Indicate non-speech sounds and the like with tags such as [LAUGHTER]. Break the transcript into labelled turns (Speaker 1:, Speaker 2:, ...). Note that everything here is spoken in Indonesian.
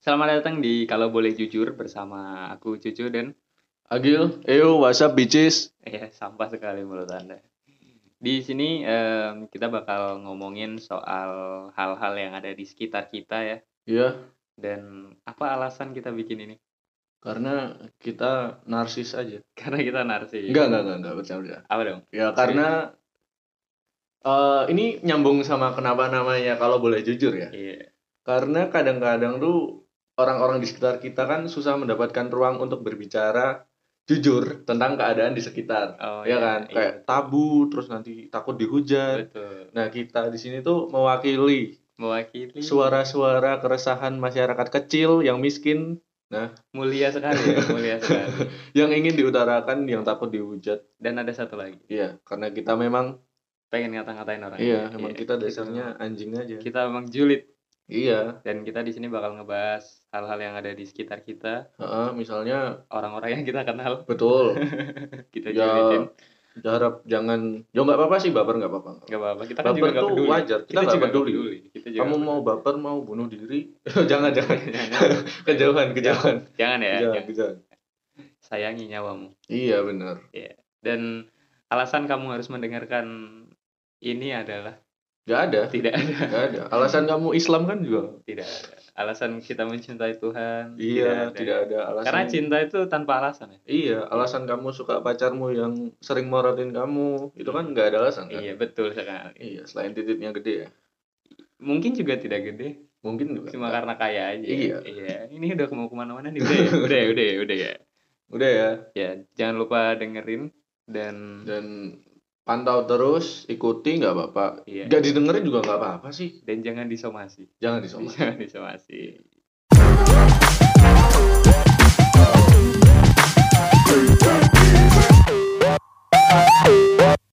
Speaker 1: Selamat datang di Kalau Boleh Jujur bersama aku Cucu dan
Speaker 2: Agil, eyo, WhatsApp bitches.
Speaker 1: ya sampah sekali menurut Anda. Di sini em, kita bakal ngomongin soal hal-hal yang ada di sekitar kita ya
Speaker 2: Iya,
Speaker 1: dan apa alasan kita bikin ini? [LAUGHS]
Speaker 2: karena kita narsis aja.
Speaker 1: Karena kita narsis.
Speaker 2: Enggak, enggak, enggak, enggak, bercanda, bercanda.
Speaker 1: Apa dong?
Speaker 2: Ya, karena eh, ini nyambung sama kenapa namanya kalau boleh jujur ya.
Speaker 1: Iya.
Speaker 2: Karena kadang-kadang tuh orang-orang di sekitar kita kan susah mendapatkan ruang untuk berbicara jujur tentang keadaan di sekitar.
Speaker 1: Oh,
Speaker 2: ya kan?
Speaker 1: iya,
Speaker 2: Kayak tabu, terus nanti takut dihujat.
Speaker 1: betul.
Speaker 2: Nah, kita di sini tuh mewakili Iya.
Speaker 1: Mewakili
Speaker 2: suara-suara keresahan masyarakat kecil yang miskin
Speaker 1: mulia sekali,
Speaker 2: [LAUGHS]
Speaker 1: ya, mulia sekali.
Speaker 2: yang ingin diutarakan yang takut dihujat
Speaker 1: Dan ada satu lagi.
Speaker 2: iya karena kita memang
Speaker 1: Pengen ngata-ngatain orang.
Speaker 2: iya
Speaker 1: Ya,
Speaker 2: memang
Speaker 1: iya,
Speaker 2: kita dasarnya anjing aja
Speaker 1: kita memang julid
Speaker 2: iya
Speaker 1: dan kita di sini bakal ngebahas hal-hal yang ada di sekitar kita,
Speaker 2: heeh, misalnya
Speaker 1: orang-orang yang kita kenal, [LAUGHS]
Speaker 2: betul
Speaker 1: kita
Speaker 2: Ya,
Speaker 1: julidin.
Speaker 2: harap jangan ya nggak apa-apa sih baper nggak apa-apa
Speaker 1: Gak apa-apa, kita kan
Speaker 2: baper
Speaker 1: juga gak
Speaker 2: tuh
Speaker 1: peduli.
Speaker 2: wajar kita
Speaker 1: juga
Speaker 2: nggak
Speaker 1: nggak Iya.
Speaker 2: peduli.
Speaker 1: Kita juga
Speaker 2: kamu
Speaker 1: nggak
Speaker 2: mau baper mau bunuh diri [LAUGHS] jangan jangan Iya.
Speaker 1: peduli. jangan,
Speaker 2: kejauhan kejauhan
Speaker 1: jangan ya,
Speaker 2: kejauhan,
Speaker 1: jangan.
Speaker 2: kejauhan.
Speaker 1: sayangi nyawamu.
Speaker 2: iya benar
Speaker 1: Dan alasan kamu harus mendengarkan ini adalah
Speaker 2: nggak ada
Speaker 1: tidak [LAUGHS] ada,
Speaker 2: nggak ada alasan kamu Islam kan juga
Speaker 1: tidak ada. Alasan kita mencintai Tuhan.
Speaker 2: iya
Speaker 1: ada.
Speaker 2: tidak ada alasan
Speaker 1: Karena cinta itu tanpa alasan ya.
Speaker 2: Iya, alasan kamu suka pacarmu yang sering morotin kamu, itu kan nggak ada alasan kan?
Speaker 1: Iya betul sekali.
Speaker 2: Iya, selain titiknya gede ya.
Speaker 1: Mungkin juga tidak gede,
Speaker 2: Mungkin juga.
Speaker 1: cuma karena kaya aja.
Speaker 2: Iya.
Speaker 1: Ini udah mau kemana-mana nih. Udah ya, udah ya, udah ya, udah ya.
Speaker 2: Udah ya.
Speaker 1: Ya, jangan lupa dengerin dan
Speaker 2: Dan pantau terus, ikuti nggak apa-apa.
Speaker 1: iya.
Speaker 2: Nggak didengerin juga nggak apa-apa sih.
Speaker 1: Dan jangan disomasi. [LAUGHS]
Speaker 2: Jangan disomasi.
Speaker 1: Jangan disomasi.
Speaker 3: Thank you.